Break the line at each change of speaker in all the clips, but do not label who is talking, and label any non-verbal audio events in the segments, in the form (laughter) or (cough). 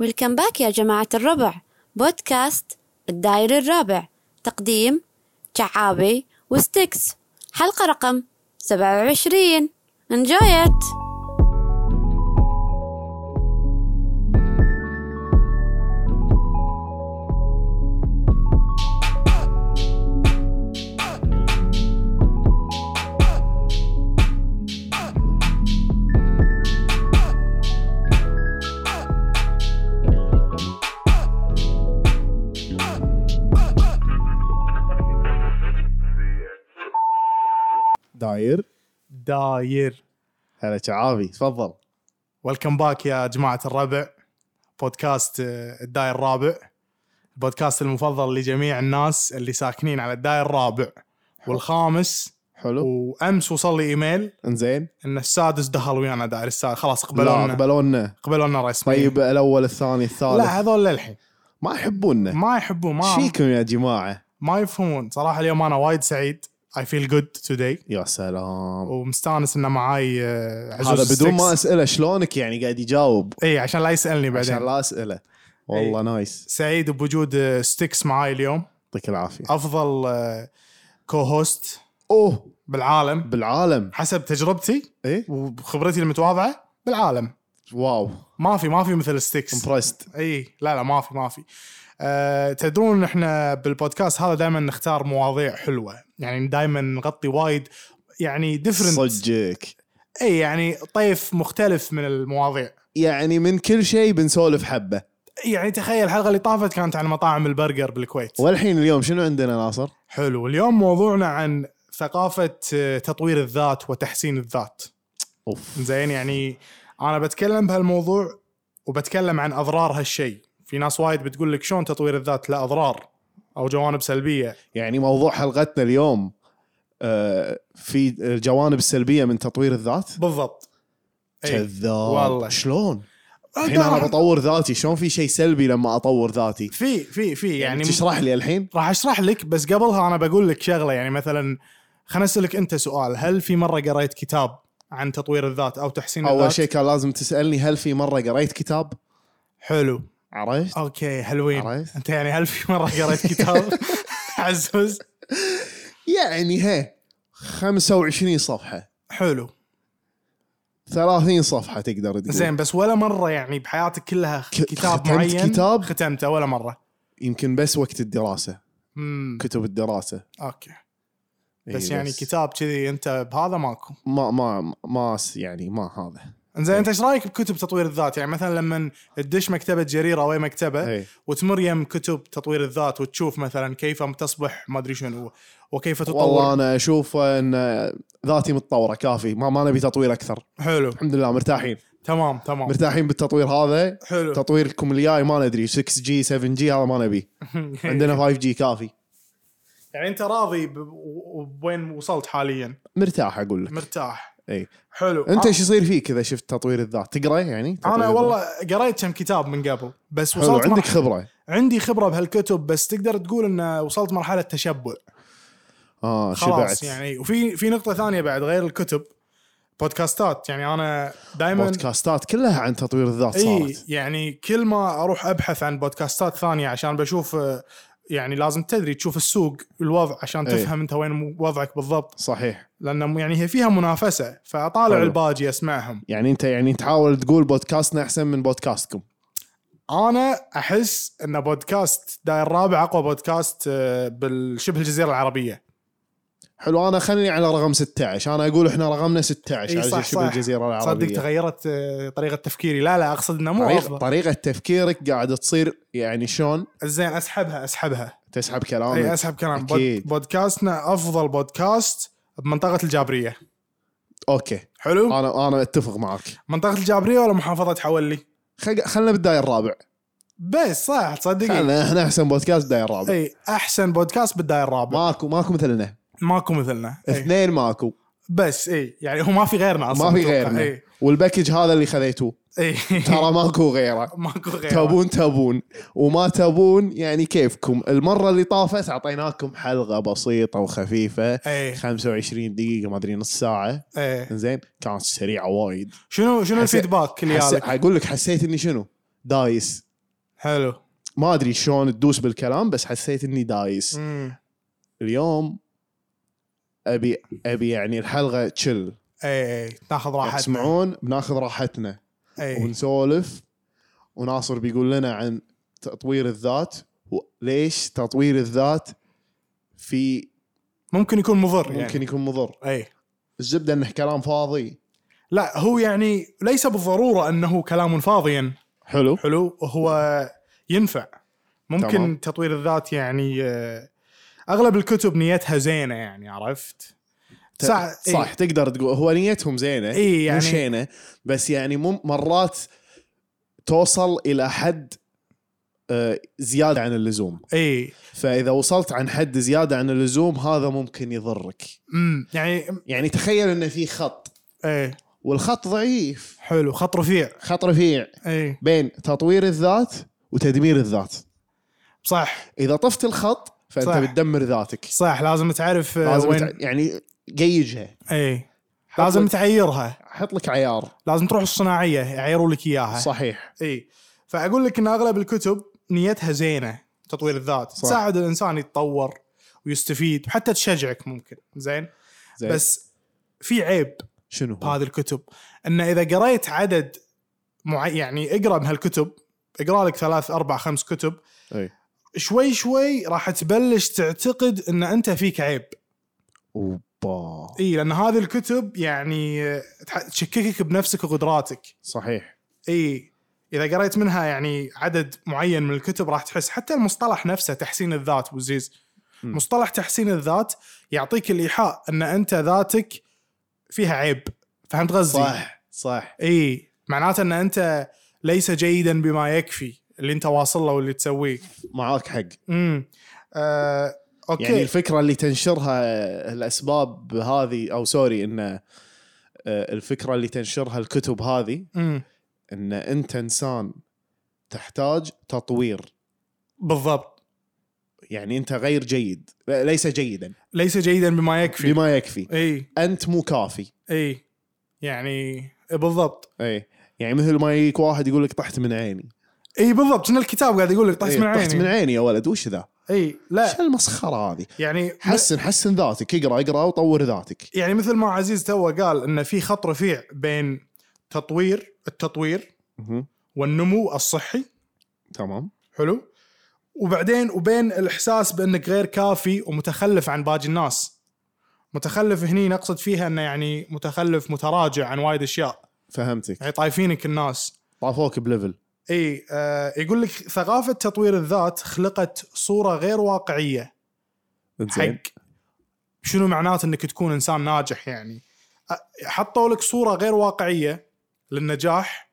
ويلكم باك يا جماعة الربع بودكاست الداير الرابع تقديم شعابي وستيكس حلقة رقم 27 انجويت
داير
داير
هلا شعابي تفضل
ويلكم باك يا جماعة الربع بودكاست آه، الداير الرابع البودكاست المفضل لجميع الناس اللي ساكنين على الداير الرابع والخامس
حلو
وامس وصل لي ايميل
انزين
ان السادس دخل ويانا داير السادس خلاص
لا
قبلونا
قبلونا
قبلونا رسميا
طيب الاول الثاني الثالث
إيه. لا هذول للحين
ما يحبوننا
ما يحبون
ايش
ما
فيكم يا جماعه
ما يفهمون صراحة اليوم انا وايد سعيد اي فيل جود توداي
يا سلام
ومستانس انه معاي آه، عزوز
هذا بدون ما
ستيكس.
اساله شلونك يعني قاعد يجاوب
اي عشان لا يسالني بعدين إيه.
عشان لا اساله والله نايس
سعيد بوجود آه، ستيكس معاي اليوم
يعطيك العافيه
افضل آه، كو هوست
اوه
بالعالم
بالعالم
حسب تجربتي
ايه
وخبرتي المتواضعه بالعالم
واو
ما في ما في مثل ستيكس
امبرست
اي لا لا ما في ما في أه تدرون احنا بالبودكاست هذا دائما نختار مواضيع حلوه يعني دائما نغطي وايد يعني ديفرنت
صدقك
اي يعني طيف مختلف من المواضيع
يعني من كل شيء بنسولف حبه
يعني تخيل الحلقه اللي طافت كانت عن مطاعم البرجر بالكويت
والحين اليوم شنو عندنا ناصر؟
حلو اليوم موضوعنا عن ثقافه آه، تطوير الذات وتحسين الذات
اوف
زين يعني انا بتكلم بهالموضوع وبتكلم عن اضرار هالشيء في ناس وايد بتقول لك شلون تطوير الذات له اضرار او جوانب سلبيه
يعني موضوع حلقتنا اليوم آه، في الجوانب السلبيه من تطوير الذات
بالضبط أي.
كذاب
والله.
شلون؟ الحين
آه،
انا بطور ذاتي شلون في شيء سلبي لما اطور ذاتي؟
في في في يعني
تشرح لي الحين؟
راح اشرح لك بس قبلها انا بقول لك شغله يعني مثلا خلنا اسالك انت سؤال هل في مره قريت كتاب عن تطوير الذات او تحسين الذات
اول شيء كان لازم تسالني هل في مره قريت كتاب؟
حلو
عرفت؟
اوكي حلوين
عرفت؟
انت يعني هل في مره قريت
(laughs)
كتاب عزوز
يعني ها 25 صفحه
حلو
30 صفحه تقدر تقول
زين بس ولا مره يعني بحياتك كلها
ك-
كتاب
ختمت
معين
كتاب؟
ختمته ولا مره
يمكن بس وقت الدراسه
امم
كتب الدراسه
اوكي
إي
بس يعني كتاب كذي انت بهذا ماكو
ما ما ما س- يعني ما هذا
زين
إيه.
انت ايش رايك بكتب تطوير الذات يعني مثلا لما تدش مكتبه جريره او اي مكتبه
إي.
وتمر يم كتب تطوير الذات وتشوف مثلا كيف تصبح ما ادري شنو وكيف
والله
تطور
انا اشوف ان ذاتي متطوره كافي ما ما نبي تطوير اكثر
حلو
الحمد لله مرتاحين
تمام تمام
مرتاحين بالتطوير هذا
حلو (laughs)
تطويركم الجاي ما ندري 6 جي 7 جي هذا ما نبي عندنا 5 جي كافي
يعني انت راضي ب- و- وبوين وصلت حاليا
مرتاح اقول لك
مرتاح
اي
حلو
انت
آه.
ايش يصير فيك اذا شفت تطوير الذات تقرا يعني تطوير
انا
الذات؟
والله قريت كم كتاب من قبل بس
حلو
وصلت
عندك
مرحلة
خبره
عندي خبره بهالكتب بس تقدر تقول ان وصلت مرحله تشبع
اه
خلاص
شبعت
يعني وفي في نقطه ثانيه بعد غير الكتب بودكاستات يعني انا دائما
بودكاستات كلها عن تطوير الذات
اي
صارت
يعني كل ما اروح ابحث عن بودكاستات ثانيه عشان بشوف آه، يعني لازم تدري تشوف السوق الوضع عشان
إي.
تفهم انت وين وضعك بالضبط
صحيح
لان يعني هي فيها منافسه فاطالع
حلو.
الباجي اسمعهم
يعني انت يعني تحاول تقول بودكاستنا احسن من بودكاستكم
انا احس ان بودكاست داير الرابع اقوى بودكاست آه، بالشبه الجزيره العربيه
حلو انا خلني على رقم 16 انا اقول احنا رقمنا 16
إي
على
صح،
شبه
صح.
الجزيره
صدق
العربيه
تغيرت آه، طريقه تفكيري لا لا اقصد انه مو
طريق-
افضل
طريقه تفكيرك قاعده تصير يعني شلون
زين اسحبها اسحبها
تسحب
اي
كلامك
اسحب كلام بود-
أكيد.
بودكاستنا افضل بودكاست بمنطقه الجابريه
اوكي
حلو
انا انا اتفق معك
منطقه الجابريه ولا محافظه حولي
خل... خلنا بالداير الرابع
بس صح تصدق
خلنا احنا احسن بودكاست داير الرابع
اي احسن بودكاست بالداير الرابع
ماكو ماكو مثلنا
ماكو مثلنا أي.
اثنين ماكو
بس اي يعني هو ما في غيرنا اصلا
ما في
أتوقع.
غيرنا
اي
والباكج هذا اللي خذيتوه
اي
ترى ماكو غيره
(laughs) ماكو غيرنا
تبون تبون وما تبون يعني كيفكم المره اللي طافت اعطيناكم حلقه بسيطه وخفيفه
اي
25 دقيقه ما ادري نص ساعه
اي
زين كانت سريعه وايد
شنو شنو
حس-
الفيدباك اللي
حس...
جالك؟
اقول لك حسيت اني شنو دايس
حلو
ما ادري شلون تدوس بالكلام بس حسيت اني دايس
امم
اليوم ابي ابي يعني الحلقه تشل
اي اي تاخذ راحتنا
تسمعون بناخذ راحتنا
اي
ونسولف وناصر بيقول لنا عن تطوير الذات وليش تطوير الذات في
ممكن يكون مضر يعني
ممكن يكون مضر
اي
الزبده انه كلام فاضي
لا هو يعني ليس بالضروره انه كلام فاضيا
حلو
حلو هو ينفع ممكن
تمام.
تمام. تطوير الذات يعني آه، اغلب الكتب نيتها زينه يعني عرفت
ت-
ساعة- إي.
صح تقدر تقول هو نيتهم زينه
إي إيه. يعني-
مو شينه بس يعني مم مرات توصل الى حد آه، زياده عن اللزوم
اي
فاذا وصلت عن حد زياده عن اللزوم هذا ممكن يضرك
امم يعني
يعني تخيل انه في خط
اي
والخط ضعيف
حلو خط رفيع
خط رفيع
اي
بين تطوير الذات وتدمير الذات
صح
اذا طفت الخط فانت
صح.
بتدمر ذاتك
صح لازم تعرف آه،
لازم
وين
تع- يعني قيجها
اي
حط
لازم
لك-
تعيرها
حط لك عيار
لازم تروح الصناعيه يعيروا لك اياها
صحيح
اي فاقول لك ان اغلب الكتب نيتها زينه تطوير الذات
صح.
تساعد الانسان يتطور ويستفيد وحتى تشجعك ممكن زين
زين.
بس في عيب
شنو هو؟
بهذه الكتب ان اذا قريت عدد معين يعني اقرا من هالكتب اقرا لك ثلاث اربع خمس كتب
اي
شوي شوي راح تبلش تعتقد ان انت فيك عيب
اوبا
اي لان هذه الكتب يعني آه، تح- تشككك بنفسك وقدراتك
صحيح
اي اذا قريت منها يعني عدد معين من الكتب راح تحس حتى المصطلح نفسه تحسين الذات وزيز
م.
مصطلح تحسين الذات يعطيك الايحاء ان انت ذاتك فيها عيب فهمت غزي
صح صح
اي معناته ان انت ليس جيدا بما يكفي اللي انت واصل له واللي تسويه
معاك حق
امم آه، اوكي
يعني الفكره اللي تنشرها الاسباب هذه او سوري ان آه، الفكره اللي تنشرها الكتب هذه
امم
ان انت انسان تحتاج تطوير
بالضبط
يعني انت غير جيد لا- ليس جيدا
ليس جيدا بما يكفي
بما يكفي
اي
انت مو كافي
اي يعني بالضبط
اي يعني مثل ما يجيك واحد يقول لك طحت من عيني
اي بالضبط شنو الكتاب قاعد يقول لك طحت
إيه،
من عيني
طحت من عيني يا ولد وش ذا؟
اي لا
شو المسخره هذه؟
يعني
حسن حسن ذاتك اقرا اقرا وطور ذاتك
يعني مثل ما عزيز تو قال ان في خط رفيع بين تطوير التطوير
مهم.
والنمو الصحي
تمام
حلو وبعدين وبين الاحساس بانك غير كافي ومتخلف عن باقي الناس متخلف هني نقصد فيها انه يعني متخلف متراجع عن وايد اشياء
فهمتك
يعني طايفينك الناس
طافوك بليفل
اي آه يقول لك ثقافه تطوير الذات خلقت صوره غير واقعيه
زين
حق شنو معناته انك تكون انسان ناجح يعني أ- حطوا لك صوره غير واقعيه للنجاح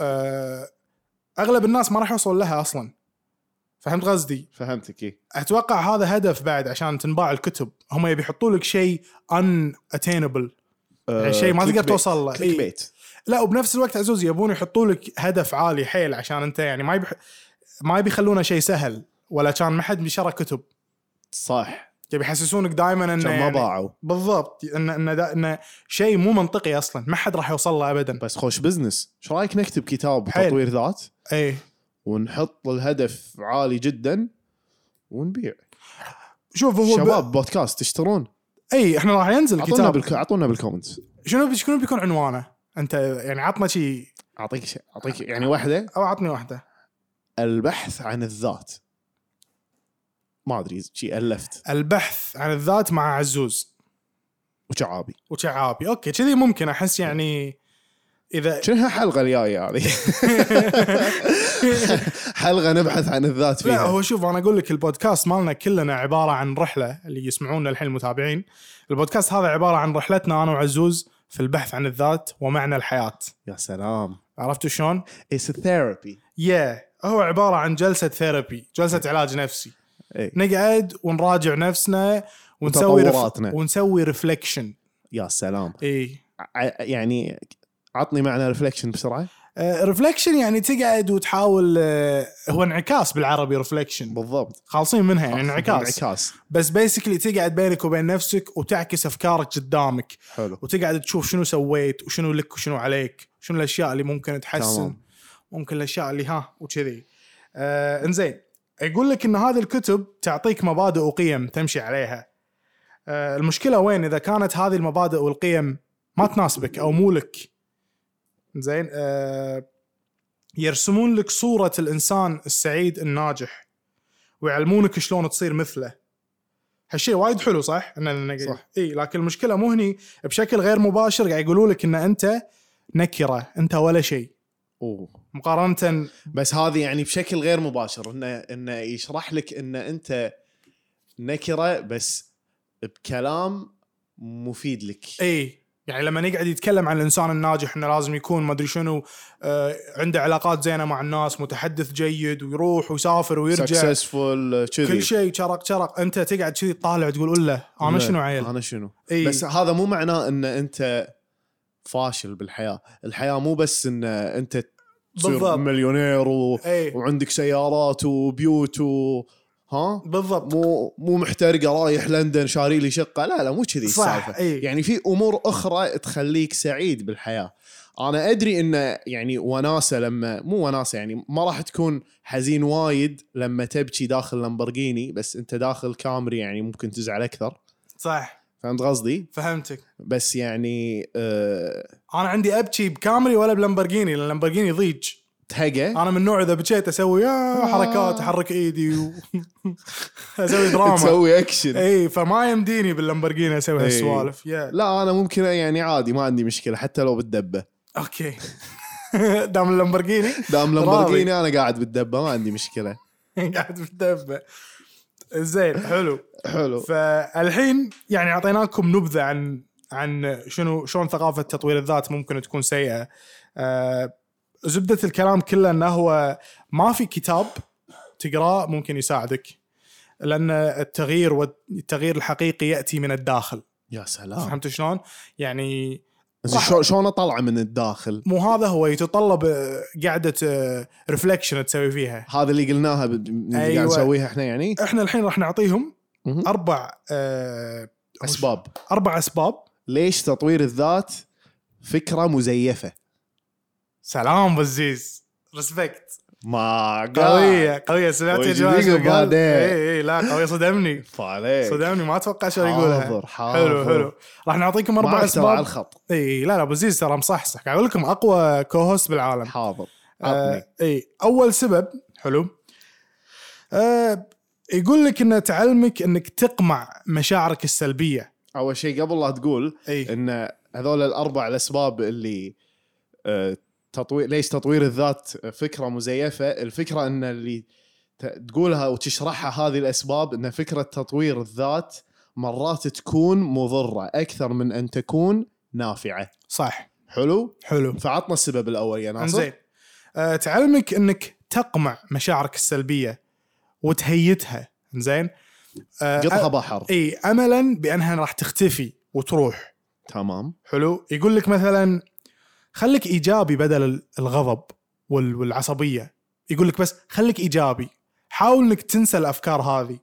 أه، اغلب الناس ما راح يوصل لها اصلا فهمت قصدي
فهمتك إيه. اي
اتوقع هذا هدف بعد عشان تنباع الكتب هم يبي يحطوا لك شيء ان اتينبل
آه،
يعني شيء ما تقدر توصل له
كليك
إيه.
بيت
لا وبنفس الوقت عزوز يبون يحطوا لك هدف عالي حيل عشان انت يعني ما يبي ما يبي يخلونه شيء سهل ولا كان ما حد بيشرى كتب
صح
يبي يحسسونك دائما انه
عشان ما
يعني-
باعوا
بالضبط ان ان دا ان شيء مو منطقي اصلا ما حد راح يوصل له ابدا
بس خوش بزنس ايش رايك نكتب كتاب
حلو.
تطوير ذات
اي
ونحط الهدف عالي جدا ونبيع
شوف هو
شباب بودكاست تشترون
ب... اي احنا راح ينزل
اعطونا
الكتاب
بالك... اعطونا بالكومنتس
شنو بي- شنو بيكون عنوانه انت يعني عطنا شيء
اعطيك ش... اعطيك يعني واحده
او عطني واحده
البحث عن الذات ما ادري شي الفت
البحث عن الذات مع عزوز
وشعابي
وشعابي اوكي كذي ممكن احس يعني اذا
شنو هالحلقه الجايه هذه (laughs) حلقه نبحث عن الذات
لا
فيها
هو شوف انا اقول لك البودكاست مالنا كلنا عباره عن رحله اللي يسمعونا الحين المتابعين البودكاست هذا عباره عن رحلتنا انا وعزوز في البحث عن الذات ومعنى الحياه
يا سلام
عرفتوا شلون؟
اتس ثيرابي
يا هو عباره عن جلسه ثيرابي جلسه علاج نفسي
إيه.
نقعد ونراجع نفسنا ونسوي
وتطوراتنا.
ونسوي إيه. ريفلكشن
يا سلام
اي
ع- يعني عطني معنى ريفلكشن بسرعه
ريفلكشن يعني تقعد وتحاول آه، هو انعكاس بالعربي ريفلكشن
بالضبط
خالصين منها يعني انعكاس
انعكاس
بس بيسكلي تقعد بينك وبين نفسك وتعكس افكارك قدامك
حلو
وتقعد تشوف شنو سويت وشنو لك وشنو عليك شنو الاشياء اللي ممكن تحسن
تمام.
ممكن الاشياء اللي ها وكذي آه انزين يقول لك ان هذه الكتب تعطيك مبادئ وقيم تمشي عليها آه المشكله وين اذا كانت هذه المبادئ والقيم ما تناسبك او مو لك زين آه يرسمون لك صوره الانسان السعيد الناجح ويعلمونك شلون تصير مثله هالشيء وايد حلو صح؟ إن
صح.
صح اي لكن المشكله مو هني بشكل غير مباشر قاعد يقولوا لك ان انت نكره انت ولا شيء
أوه.
مقارنه
بس هذه يعني بشكل غير مباشر انه انه يشرح لك ان انت نكره بس بكلام مفيد لك
اي يعني لما يقعد يتكلم عن الانسان الناجح انه لازم يكون ما ادري شنو آه عنده علاقات زينه مع الناس متحدث جيد ويروح ويسافر ويرجع
سكسسفول
كل شيء شرق شرق انت تقعد كذي تطالع تقول له انا شنو عيل إيه،
انا شنو
اي
بس هذا مو معناه ان انت فاشل بالحياه الحياه مو بس ان انت تصير
بالضبط. إيه،
مليونير و...
اي
وعندك سيارات وبيوت و... ها
بالضبط
مو مو محترقه رايح لندن شاري لي شقه لا لا مو كذي
صح،
السالفه
إي.
يعني في امور اخرى تخليك سعيد بالحياه انا ادري ان يعني وناسه لما مو وناسه يعني ما راح تكون حزين وايد لما تبكي داخل لامبرجيني بس انت داخل كامري يعني ممكن تزعل اكثر
صح
فهمت قصدي
فهمتك
بس يعني أه
انا عندي ابكي بكامري ولا بلمبرجيني لان اللمبرجيني ضيج
تهقه
انا من النوع اذا بكيت اسوي يا حركات احرك ايدي و... (laughs) اسوي دراما
آه. (laughs) تسوي إيه. اكشن
اي فما يمديني باللمبرجيني اسوي
إي.
هالسوالف يا
لا انا ممكن يعني عادي ما عندي مشكله حتى لو بالدبه
اوكي (laughs) دام اللامبرجيني
دام
(laughs) راضي.
لامبرجيني انا قاعد بالدبه ما عندي مشكله
(laughs) قاعد في الدبه زين حلو
حلو
فالحين يعني اعطيناكم نبذه عن عن شنو شلون ثقافه تطوير الذات ممكن تكون سيئه آه زبده الكلام كله انه هو ما في كتاب تقراه ممكن يساعدك لان التغيير والتغيير الحقيقي ياتي من الداخل
يا سلام
فهمت شلون يعني
زين شو- شلون اطلعه من الداخل؟
مو هذا هو يتطلب آه، قعده ريفلكشن تسوي فيها
هذا اللي قلناها بد- اللي
أيوة. أه،
قاعد نسويها احنا يعني
احنا الحين راح نعطيهم
مهم.
اربع آه
اسباب
اربع اسباب
ليش تطوير الذات فكره مزيفه
سلام بزيز ريسبكت
ما قال.
قوية قوية سمعت يا جماعة
ويجيك
شو قال؟
بعدين. إيه.
اي اي إيه، لا قوية صدمني
فعليك
صدمني ما اتوقع شو يقولها
حاضر
حلو حلو راح نعطيكم
اربع
اربع
آه. على
اسباب
الخط
اي إيه، لا لا ابو زيز ترى مصحصح قاعد اقول لكم اقوى كوهوست بالعالم
حاضر عطني
آه اي اول سبب حلو آه يقول لك انه تعلمك انك تقمع مشاعرك إيه، السلبيه
اول شيء قبل لا تقول
اي
ان هذول الاربع الاسباب اللي آه، تطوير ليش تطوير الذات فكره مزيفه الفكره ان اللي ت- تقولها وتشرحها هذه الاسباب ان فكره تطوير الذات مرات تكون مضره اكثر من ان تكون نافعه
صح
حلو
حلو
فعطنا السبب الاول يا ناصر
انزين آه، تعلمك انك تقمع مشاعرك السلبيه وتهيتها انزين آه،
قطها
أ-
بحر
اي املا بانها راح تختفي وتروح
تمام
حلو يقول لك مثلا خليك ايجابي بدل ال- الغضب وال- والعصبيه يقول لك بس خليك ايجابي حاول انك تنسى الافكار هذه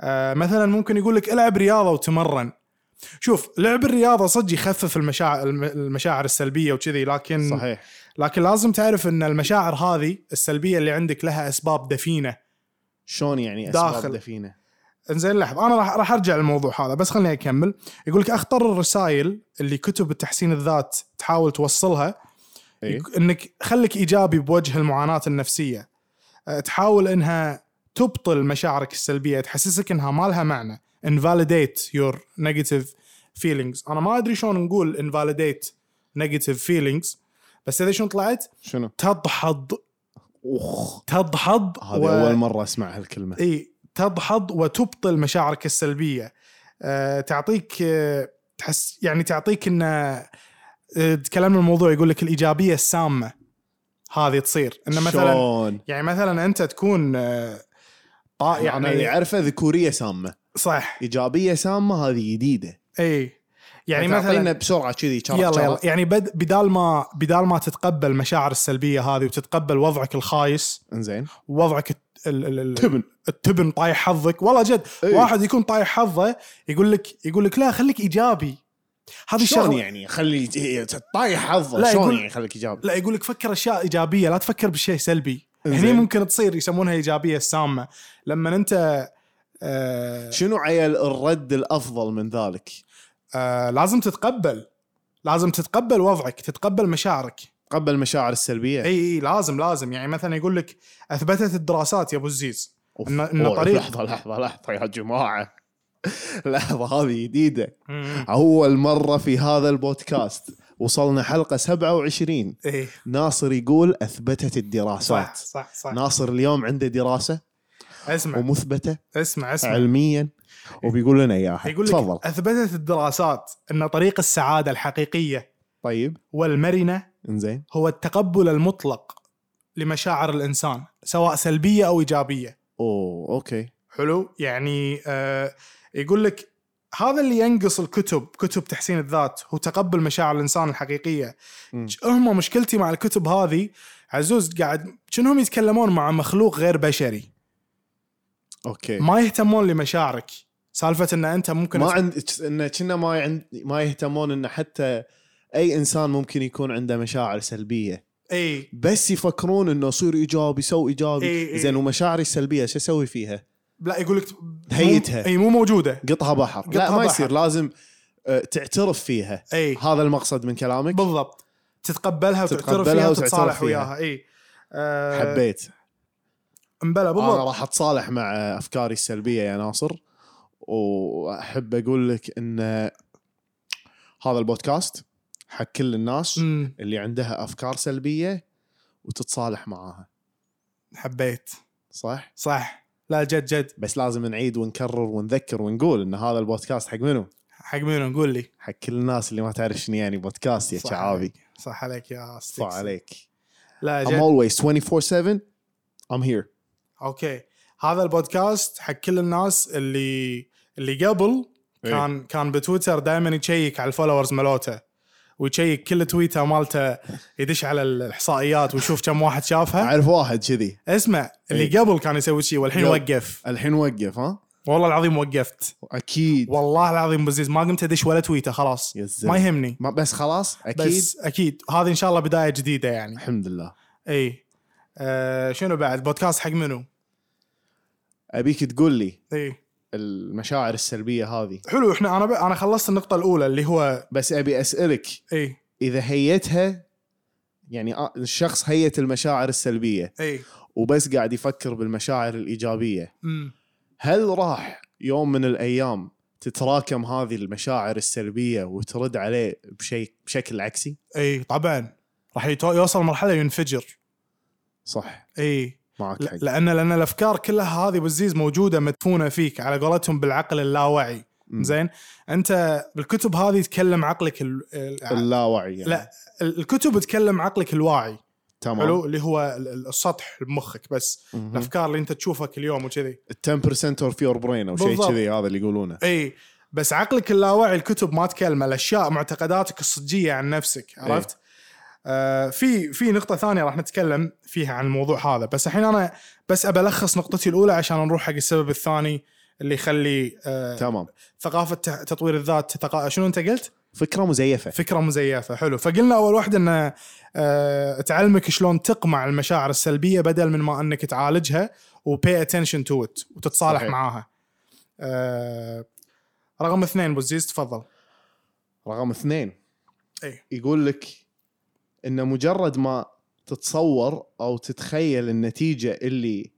آه، مثلا ممكن يقول لك العب رياضه وتمرن شوف لعب الرياضه صدق يخفف المشاعر الم- المشاعر السلبيه وكذي لكن
صحيح
لكن لازم تعرف ان المشاعر هذه السلبيه اللي عندك لها اسباب دفينه
شلون يعني اسباب
داخل.
دفينه
انزين لحظه انا راح راح ارجع للموضوع هذا بس خليني اكمل يقول لك اخطر الرسائل اللي كتب التحسين الذات تحاول توصلها
إيه؟
يق- انك خليك ايجابي بوجه المعاناه النفسيه أه، تحاول انها تبطل مشاعرك السلبيه تحسسك انها ما لها معنى invalidate your negative feelings انا ما ادري شلون نقول invalidate negative feelings بس تدري شلون طلعت
شنو
تدحض
اوخ
تدحض
هذه اول مره اسمع هالكلمه
اي تدحض وتبطل مشاعرك السلبيه أه تعطيك أه تحس يعني تعطيك ان أه، تكلمنا الموضوع يقول لك الايجابيه السامه هذه تصير ان مثلا
شلون
يعني مثلا انت تكون أه، طا-
يعني اللي
يعني
اعرفه ذكوريه سامه
صح
ايجابيه سامه هذه جديده
اي يعني
تعطينا
مثلا
بسرعه كذي شرط
يلا يلا
شرط.
يعني بد بدال ما بدال ما تتقبل مشاعر السلبيه هذه وتتقبل وضعك الخايس
انزين
ووضعك الت- ال- ال- ال-
تبن
التبن طايح حظك والله جد
إيه.
أيه. واحد يكون طايح حظه يقول لك يقول لك لا خليك ايجابي هذه
شلون
الشغله
يعني خلي إيه، طايح حظه
لا،
شلون
يقول-
يعني خليك ايجابي
لا يقول لك فكر اشياء ايجابيه لا تفكر بشيء سلبي هني
إنزين.
ممكن تصير يسمونها ايجابيه السامه لما انت آه
شنو عيل الرد الافضل من ذلك؟
آه لازم تتقبل لازم تتقبل وضعك تتقبل مشاعرك
قبل المشاعر السلبيه
اي اي لازم لازم يعني مثلا يقول لك اثبتت الدراسات يا ابو الزيز
أوف،
إن- إن
أوه،
طريق-
لحظه لحظه لحظه يا (laughs) جماعه لحظه هذه جديده اول مره في هذا البودكاست وصلنا حلقه 27
اي
ناصر يقول اثبتت
صح
الدراسات
صح صح
ناصر اليوم عنده دراسه
اسمع
ومثبته
اسمع اسمع
علميا وبيقول لنا اياها
يقول
تفضل
لك اثبتت الدراسات ان طريق السعاده الحقيقيه
طيب
والمرنه
انزين
هو التقبل المطلق لمشاعر الانسان سواء سلبيه او ايجابيه
اوه اوكي
حلو يعني آه يقول لك هذا اللي ينقص الكتب كتب تحسين الذات هو تقبل مشاعر الانسان الحقيقيه
مم.
هم مشكلتي مع الكتب هذه عزوز قاعد شنهم يتكلمون مع مخلوق غير بشري
اوكي
ما يهتمون لمشاعرك سالفه ان انت ممكن
ما عند انه كنا ما عند ما يهتمون انه حتى اي انسان ممكن يكون عنده مشاعر سلبيه
اي
بس يفكرون انه يصير ايجابي سو ايجابي
إي، إي.
زين ومشاعري السلبيه شو اسوي فيها؟
لا يقول لك
هيتها.
اي مو موجوده
قطها بحر لا
قطها
ما
بحر.
يصير لازم آه، تعترف فيها
اي
هذا المقصد من كلامك
إيه، بالضبط تتقبلها وتعترف
تتقبلها
فيها
وتعترف
وتتصالح
فيها.
وياها اي أه
حبيت
امبلا
انا
بالضبط
راح اتصالح مع افكاري السلبيه يا ناصر واحب اقول لك ان هذا البودكاست حق كل الناس
أمم،
اللي عندها افكار سلبيه وتتصالح معاها
حبيت
صح
صح لا جد جد
بس لازم نعيد ونكرر ونذكر ونقول ان هذا البودكاست حق منو
حق منو قول لي
حق كل الناس اللي ما تعرف شنو يعني بودكاست يا
صح
شعابي
عليك. صح عليك يا ستيكس
صح عليك
لا
I'm
جد
always 24/7 I'm here
اوكي هذا البودكاست حق كل الناس اللي اللي قبل
إيه.
كان كان بتويتر دائما يشيك على الفولورز مالته ويشيك كل تويته مالته يدش على الاحصائيات ويشوف كم واحد شافها
(laughs) اعرف واحد كذي
اسمع اللي
إيه.
قبل كان يسوي شيء والحين
قبل.
وقف
الحين وقف ها
والله العظيم وقفت
اكيد
والله العظيم أبو عزيز ما قمت ادش ولا تويته خلاص
يا زلمة.
ما يهمني
ما بس خلاص اكيد
بس اكيد هذه ان شاء الله بدايه جديده يعني
الحمد لله
اي آه شنو بعد بودكاست حق منو
ابيك تقول لي
اي
المشاعر السلبيه هذه
حلو احنا انا ب... انا خلصت النقطه الاولى اللي هو
بس ابي اسالك
اي
اذا هيتها يعني آه، الشخص هيت المشاعر السلبيه
اي
وبس قاعد يفكر بالمشاعر الايجابيه
امم
هل راح يوم من الايام تتراكم هذه المشاعر السلبيه وترد عليه بشيء بشكل عكسي
اي طبعا راح يتو... يوصل مرحله ينفجر
صح
اي
معك
ل...
حق
لان لان الافكار كلها هذه بالزيز موجوده مدفونه فيك على قولتهم بالعقل اللاواعي
مم.
زين انت بالكتب هذه تكلم عقلك ال... ال...
اللاوعي يعني.
لا ال- الكتب تكلم عقلك الواعي
تمام
حلو اللي هو ال- ال- السطح بمخك بس
مهم.
الافكار اللي انت تشوفها كل يوم وكذي
10% اوف يور برين او شيء
بالضبط.
كذي هذا اللي يقولونه
اي بس عقلك اللاواعي الكتب ما تكلمه الاشياء معتقداتك الصجيه عن نفسك عرفت؟ آه في في نقطه ثانيه راح نتكلم فيها عن الموضوع هذا بس الحين انا بس ابى الخص نقطتي الاولى عشان نروح حق السبب الثاني اللي يخلي آه
تمام
ثقافه ت- تطوير الذات تتقا... شنو انت قلت؟
فكره مزيفه
فكره مزيفه حلو فقلنا اول واحده ان آه تعلمك شلون تقمع المشاعر السلبيه بدل من ما انك تعالجها وبي اتنشن تو ات وتتصالح
صحيح.
معاها آه رقم اثنين بوزيز تفضل
رقم اثنين
أي.
يقول لك ان مجرد ما تتصور او تتخيل النتيجه اللي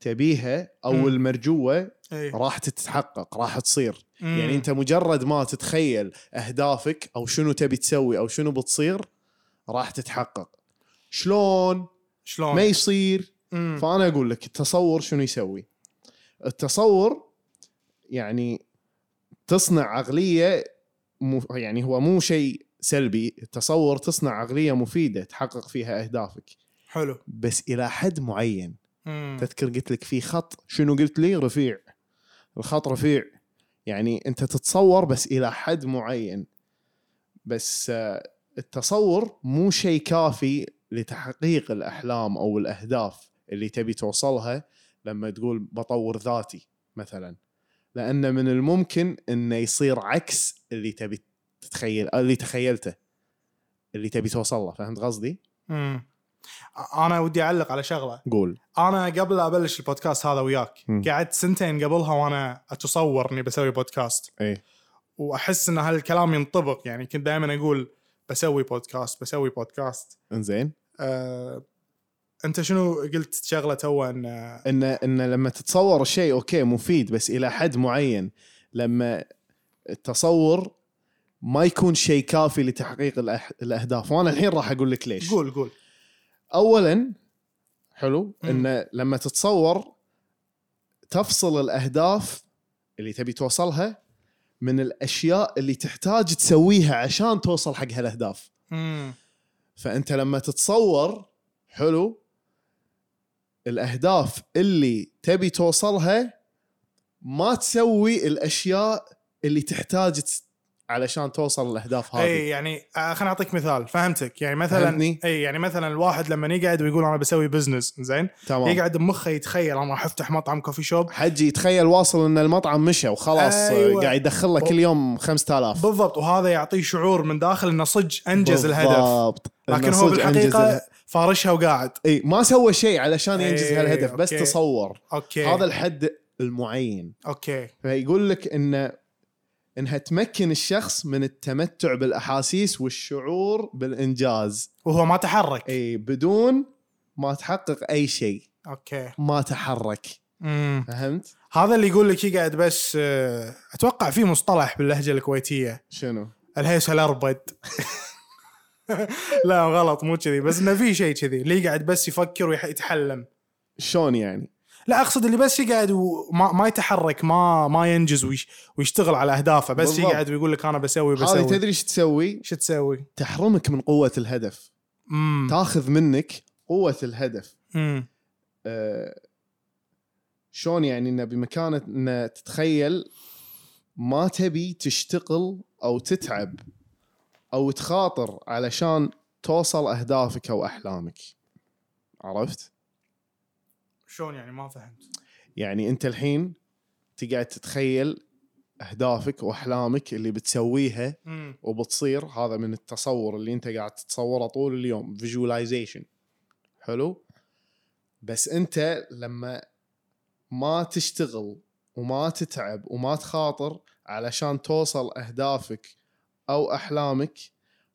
تبيها او
مم.
المرجوه
اي
راح تتحقق راح تصير
إيه. مم.
يعني انت مجرد ما تتخيل اهدافك او شنو تبي تسوي او شنو بتصير راح تتحقق شلون
شلون
ما يصير
مم.
فانا اقول لك التصور شنو يسوي التصور يعني تصنع عقليه مو يعني هو مو شيء سلبي التصور تصنع عقليه مفيده تحقق فيها اهدافك
حلو
بس الى حد معين
مم.
تذكر قلت لك في خط شنو قلت لي رفيع الخط رفيع يعني انت تتصور بس الى حد معين بس آه، التصور مو شيء كافي لتحقيق الاحلام او الاهداف اللي تبي توصلها لما تقول بطور ذاتي مثلا لان من الممكن انه يصير عكس اللي تبي تتخيل اللي تخيلته اللي تبي توصله فهمت قصدي؟
مم. انا ودي اعلق على شغله
قول
انا قبل ابلش البودكاست هذا وياك
مم.
قعدت سنتين قبلها وانا اتصور اني بسوي بودكاست
ايه
واحس ان هالكلام ينطبق يعني كنت دائما اقول بسوي بودكاست بسوي بودكاست
انزين
آه، انت شنو قلت شغله تو ان آه،
ان ان لما تتصور شيء اوكي مفيد بس الى حد معين لما التصور ما يكون شيء كافي لتحقيق الأح- الاهداف وانا الحين راح اقول لك ليش
قول قول
اولا حلو
مم.
ان لما تتصور تفصل الاهداف اللي تبي توصلها من الاشياء اللي تحتاج تسويها عشان توصل حق هالاهداف
مم.
فانت لما تتصور حلو الاهداف اللي تبي توصلها ما تسوي الاشياء اللي تحتاج تس- علشان توصل الاهداف هذه
اي يعني آه، خليني اعطيك مثال فهمتك يعني مثلا
فهمتني؟
اي يعني مثلا الواحد لما يقعد ويقول انا بسوي بزنس زين
تمام
يقعد بمخه يتخيل انا راح افتح مطعم كوفي شوب
حجي يتخيل واصل ان المطعم مشى وخلاص
أيوة.
أيوة. قاعد يدخل له كل يوم 5000
بالضبط وهذا يعطيه شعور من داخل انه صج انجز الهدف
بالضبط. إنه
لكن هو
صدق أنجز
بالحقيقه
اله-
فارشها وقاعد
اي ما سوى شيء علشان ينجز
إي،
هالهدف بس
أوكي.
تصور
اوكي
هذا الحد المعين
اوكي
فيقول لك ان انها تمكن الشخص من التمتع بالاحاسيس والشعور بالانجاز
وهو ما تحرك
اي بدون ما تحقق اي شيء
اوكي
ما تحرك
امم
فهمت
هذا اللي يقول لك يقعد بس آه، اتوقع في مصطلح باللهجه الكويتيه
شنو
الهيس الاربد (laughs) لا غلط مو كذي بس انه في شيء كذي اللي يقعد بس يفكر ويتحلم
شلون يعني
لا اقصد اللي بس يقعد وما ما يتحرك ما ما ينجز ويش ويشتغل على اهدافه بس
بالضبط.
يقعد ويقول لك انا بسوي
هذه
بسوي
تدري ايش تسوي
شو تسوي؟
تحرمك من قوه الهدف
امم
تاخذ منك قوه الهدف
امم
آه، شلون يعني انه بمكانه انه تتخيل ما تبي تشتغل او تتعب او تخاطر علشان توصل اهدافك او احلامك عرفت
شلون يعني ما فهمت
يعني انت الحين تقعد تتخيل اهدافك واحلامك اللي بتسويها
امم
وبتصير هذا من التصور اللي انت قاعد تتصوره طول اليوم فيجواليزيشن حلو بس انت لما ما تشتغل وما تتعب وما تخاطر علشان توصل اهدافك او احلامك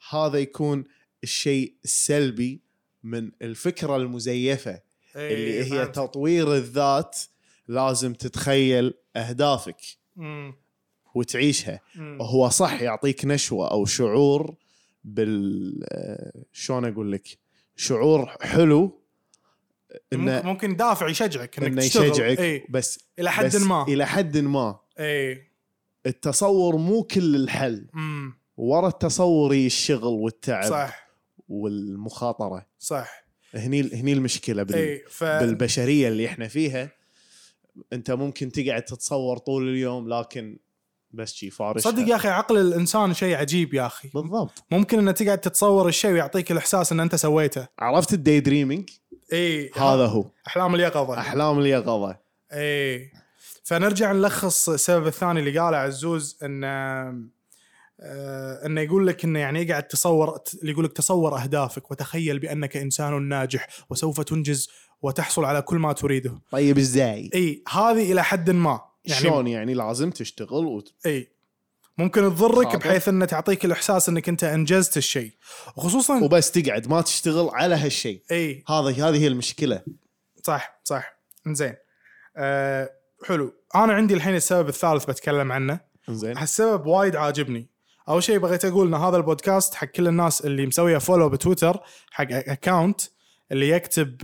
هذا يكون الشيء السلبي من الفكره المزيفه
إيه،
اللي هي تطوير الذات لازم تتخيل اهدافك وتعيشها هو صح يعطيك نشوه او شعور بال آه، شلون اقول لك شعور حلو انه
ممكن دافع يشجعك انك
انه
تشتغل
يشجعك
اي
بس
الى حد
بس
ما إيه.
الى حد ما
اي
التصور مو كل الحل
امم
ورا التصور يجي الشغل والتعب صح.
صح
والمخاطره
صح
هني هني المشكله بال...
اي ف
بالبشريه اللي احنا فيها انت ممكن تقعد تتصور طول اليوم لكن بس شي فارش
صدق يا اخي عقل الانسان شيء عجيب يا اخي
بالضبط
ممكن انه تقعد تتصور الشيء ويعطيك الاحساس ان انت سويته
عرفت الدي دريمينج
اي
إيه، هذا هو
احلام اليقظه
احلام اليقظه
اي إيه. فنرجع نلخص السبب الثاني اللي قاله عزوز انه آه، انه يقول لك انه يعني يقعد تصور اللي يقول لك تصور اهدافك وتخيل بانك انسان ناجح وسوف تنجز وتحصل على كل ما تريده.
طيب ازاي؟
اي هذه الى حد ما
يعني شلون يعني لازم تشتغل وت...
اي ممكن تضرك
خاطر.
بحيث انها تعطيك الاحساس انك انت انجزت الشيء وخصوصا
وبس تقعد ما تشتغل على هالشيء
اي
هذا هذه هي المشكله
صح صح زين أه حلو انا عندي الحين السبب الثالث بتكلم عنه
زين
هالسبب وايد عاجبني اول شيء بغيت اقول ان هذا البودكاست حق كل الناس اللي مسويه فولو بتويتر حق اكاونت اللي يكتب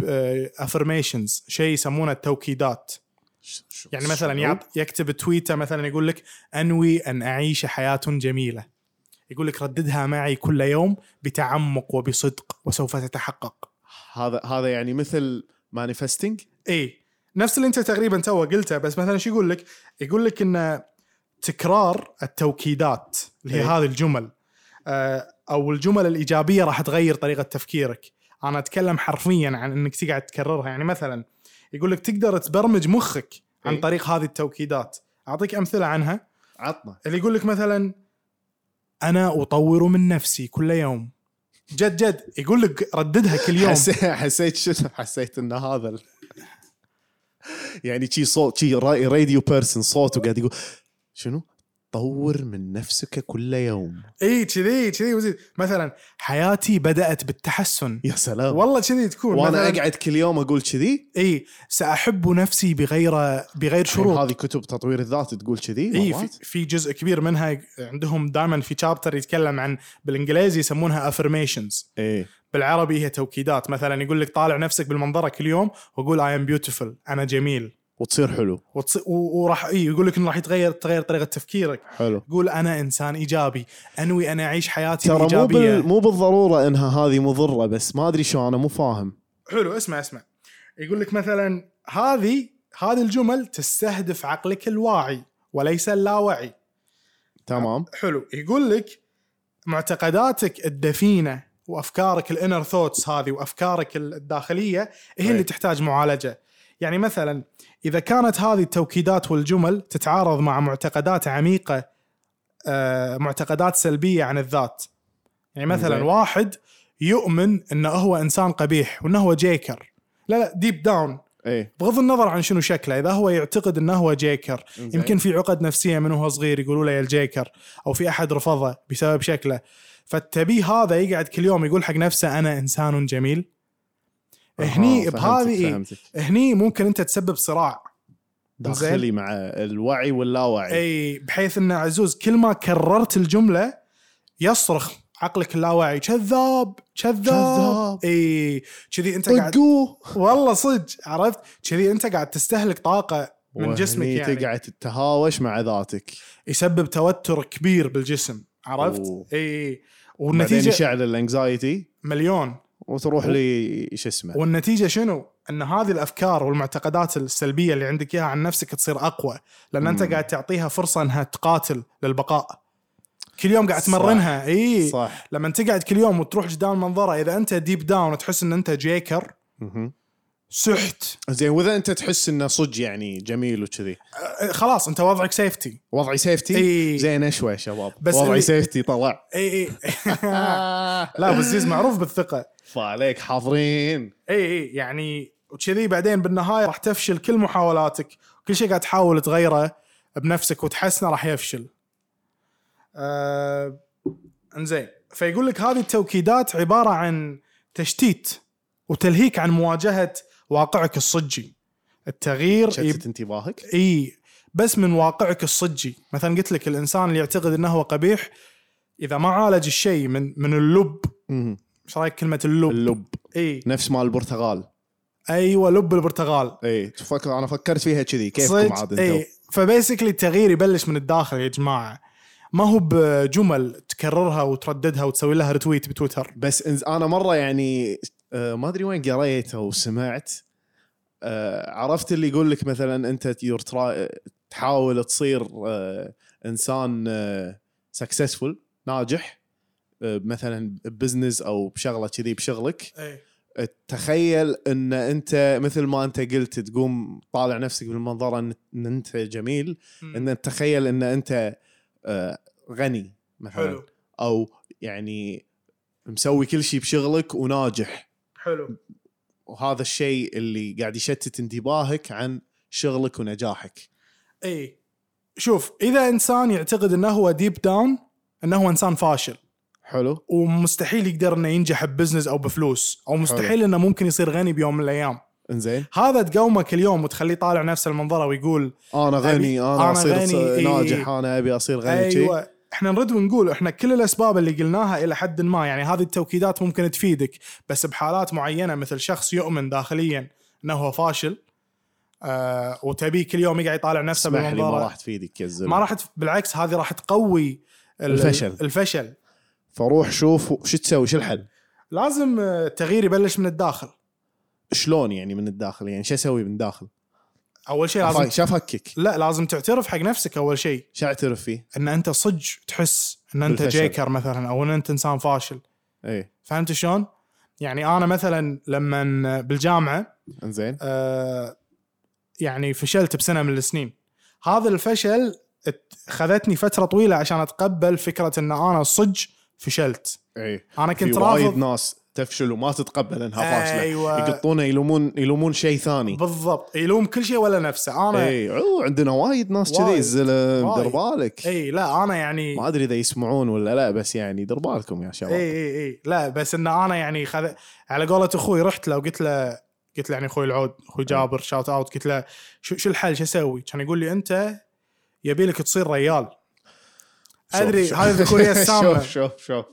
افرميشنز شيء يسمونه التوكيدات يعني مثلا يعط- يكتب تويته مثلا يقول لك انوي ان اعيش حياه جميله يقول لك رددها معي كل يوم بتعمق وبصدق وسوف تتحقق
هذا هذا يعني مثل مانيفستنج
اي إيه، نفس اللي انت تقريبا تو قلته بس مثلا شو يقول لك يقول لك ان تكرار التوكيدات اللي هي
إي.
هذه الجمل آه، او الجمل الايجابيه راح تغير طريقه تفكيرك انا اتكلم حرفيا عن انك تقعد تكررها يعني مثلا يقول لك تقدر تبرمج مخك عن
إي.
طريق هذه التوكيدات اعطيك امثله عنها
عطنا
اللي يقول لك مثلا انا اطور من نفسي كل يوم جد جد يقول لك رددها كل يوم
حسيت حسيت شنو حسيت ان هذا ال... يعني شي صوت شي را- راديو بيرسون صوت وقاعد يقول شنو طور من نفسك كل يوم
اي كذي كذي وزيد مثلا حياتي بدات بالتحسن
يا سلام
والله كذي تكون
وانا
مثلاً،
اقعد كل يوم اقول كذي
اي ساحب نفسي بغير بغير شروط
يعني هذه كتب تطوير الذات تقول كذي
اي في,
مرات؟
في جزء كبير منها عندهم دائما في شابتر يتكلم عن بالانجليزي يسمونها affirmations
ايه
بالعربي هي توكيدات مثلا يقول لك طالع نفسك بالمنظره كل يوم وقول اي ام بيوتيفول انا جميل
وتصير حلو
وتص... و... وراح إيه يقول لك انه راح يتغير تغير طريقه تفكيرك
حلو
قول انا انسان ايجابي انوي انا اعيش حياتي
ترى مو
الايجابيه
بال... مو بالضروره انها هذه مضره بس ما ادري شو انا مو فاهم
حلو اسمع اسمع يقول لك مثلا هذه هذه الجمل تستهدف عقلك الواعي وليس اللاواعي
تمام
حلو يقول لك معتقداتك الدفينه وافكارك الانر ثوتس هذه وافكارك الداخليه هي اللي
أي.
تحتاج معالجه يعني مثلا اذا كانت هذه التوكيدات والجمل تتعارض مع معتقدات عميقه آه، معتقدات سلبيه عن الذات يعني مثلا
زين.
واحد يؤمن انه هو انسان قبيح وانه هو جيكر لا لا ديب داون
ايه
بغض النظر عن شنو شكله اذا هو يعتقد انه هو جيكر
زين.
يمكن في عقد نفسيه من وهو صغير يقولوا له يا الجيكر او في احد رفضه بسبب شكله فالتبي هذا يقعد كل يوم يقول حق نفسه انا انسان جميل هني
آه،
بهذه
فهمتك،
إيه؟
فهمتك.
هني ممكن انت تسبب صراع
داخلي مع الوعي واللاوعي
اي بحيث ان عزوز كل ما كررت الجمله يصرخ عقلك اللاواعي كذاب كذاب
كذاب.
اي كذي انت قاعد
طقوه
والله صدق عرفت كذي انت قاعد تستهلك طاقه من جسمك
وهني
يعني
تقعد تتهاوش مع ذاتك
يسبب توتر كبير بالجسم
أوه.
عرفت؟ اي
والنتيجه
والنتيجه
يشعل الانكزايتي
مليون
وتروح لي شو اسمه
والنتيجه شنو؟ ان هذه الافكار والمعتقدات السلبيه اللي عندك اياها عن نفسك تصير اقوى لان انت
مم.
قاعد تعطيها فرصه انها تقاتل للبقاء كل يوم قاعد
صح.
تمرنها اي
صح
لما تقعد كل يوم وتروح قدام منظره اذا انت ديب داون تحس ان انت جيكر
مهم.
سحت
زين واذا انت تحس انه صج يعني جميل وكذي
أه، خلاص انت وضعك سيفتي
وضعي سيفتي
اي
زين اشوى يا شباب
بس
إيه. بس وضعي
اللي-
سيفتي طلع
اي
(laughs)
اي (laughs) لا بس زيز معروف بالثقه
فعليك حاضرين
اي اي يعني وكذي بعدين بالنهايه راح تفشل كل محاولاتك كل شيء قاعد تحاول تغيره بنفسك وتحسنه راح يفشل. آه انزين فيقول لك هذه التوكيدات عباره عن تشتيت وتلهيك عن مواجهه واقعك الصجي. التغيير يب...
شتت انتباهك
اي بس من واقعك الصجي مثلا قلت لك الانسان اللي يعتقد انه هو قبيح اذا ما عالج الشيء من من اللب
مهم.
ايش رايك كلمه اللب؟
اللب
اي
نفس مال البرتغال
ايوه لب البرتغال
اي تفكر انا فكرت فيها كذي كيفكم عاد
صدق
انتم
اي فبيسكلي التغيير يبلش من الداخل يا جماعه ما هو بجمل تكررها وترددها وتسوي لها رتويت بتويتر
بس إنز- انا مره يعني آه، ما ادري وين قريت او سمعت آه، عرفت اللي يقول لك مثلا انت you're try- آه، تحاول تصير آه، انسان سكسسفول ناجح آه، مثلا ببزنس او بشغله كذي بشغلك
اي
آه، تخيل ان انت مثل ما انت قلت تقوم طالع نفسك بالمنظره ان إن انت جميل ان تتخيل ان انت آه، غني مثلا
حلو
او يعني مسوي كل شيء بشغلك وناجح
حلو
وهذا الشيء اللي قاعد يشتت انتباهك عن شغلك ونجاحك
اي إيه. شوف اذا انسان يعتقد انه هو ديب داون انه هو انسان فاشل
حلو
ومستحيل يقدر انه ينجح ببزنس او بفلوس او مستحيل انه ممكن يصير غني بيوم من الايام
انزين
هذا تقومه كل يوم وتخليه طالع نفس المنظره ويقول
انا غني انا,
أنا
اصير
غني، إيه.
غني
إي.
ناجح انا ابي اصير غني أيوة.
ايوه احنا نرد ونقول احنا كل الاسباب اللي قلناها الى حد ما يعني هذه التوكيدات ممكن تفيدك بس بحالات معينه مثل شخص يؤمن داخليا انه هو فاشل آه وتبيه كل يوم يقعد يطالع نفسه
اسمح لي ما
بالمنظره
راح تفيدك يا الزلمه
ما راح تف... بالعكس هذه راح تقوي ال-
الفشل.
الفشل
فروح شوف شو تسوي شو الحل
لازم آه، التغيير يبلش من الداخل
شلون يعني من الداخل يعني شو اسوي من الداخل
اول شيء لازم
شو افكك
لا لازم تعترف حق نفسك اول شيء
شو اعترف فيه
ان انت صج تحس ان انت
بالفشل.
جيكر مثلا او ان انت انسان فاشل
ايه
فهمت شلون؟ يعني انا مثلا لما بالجامعه
انزين
آه يعني فشلت بسنه من السنين هذا الفشل ات- خذتني فتره طويله عشان اتقبل فكره ان انا صج فشلت
اي
انا
في
كنت
وايد
رافض
ناس تفشل وما تتقبل انها فاشله
أيوة.
يقطونه يلومون يلومون شيء ثاني
بالضبط يلوم كل شيء ولا نفسه انا اي,
اي عو، عندنا وايد ناس كذي
وايد.
الزلم
وايد. إيه.
دير بالك
لا انا يعني
ما ادري اذا يسمعون ولا لا بس يعني دير بالكم يا شباب
اي اي اي إيه، لا بس ان انا يعني خذ على قولة اخوي رحت له وقلت له قلت له يعني اخوي العود اخوي
إيه.
جابر شاوت اوت قلت له شو شو الحل شو اسوي؟ كان يقول لي انت يبي لك تصير ريال
شوف،
أدري،
شوف.
هاي
(laughs)
الذكورية السامة.
شوف شوف شوف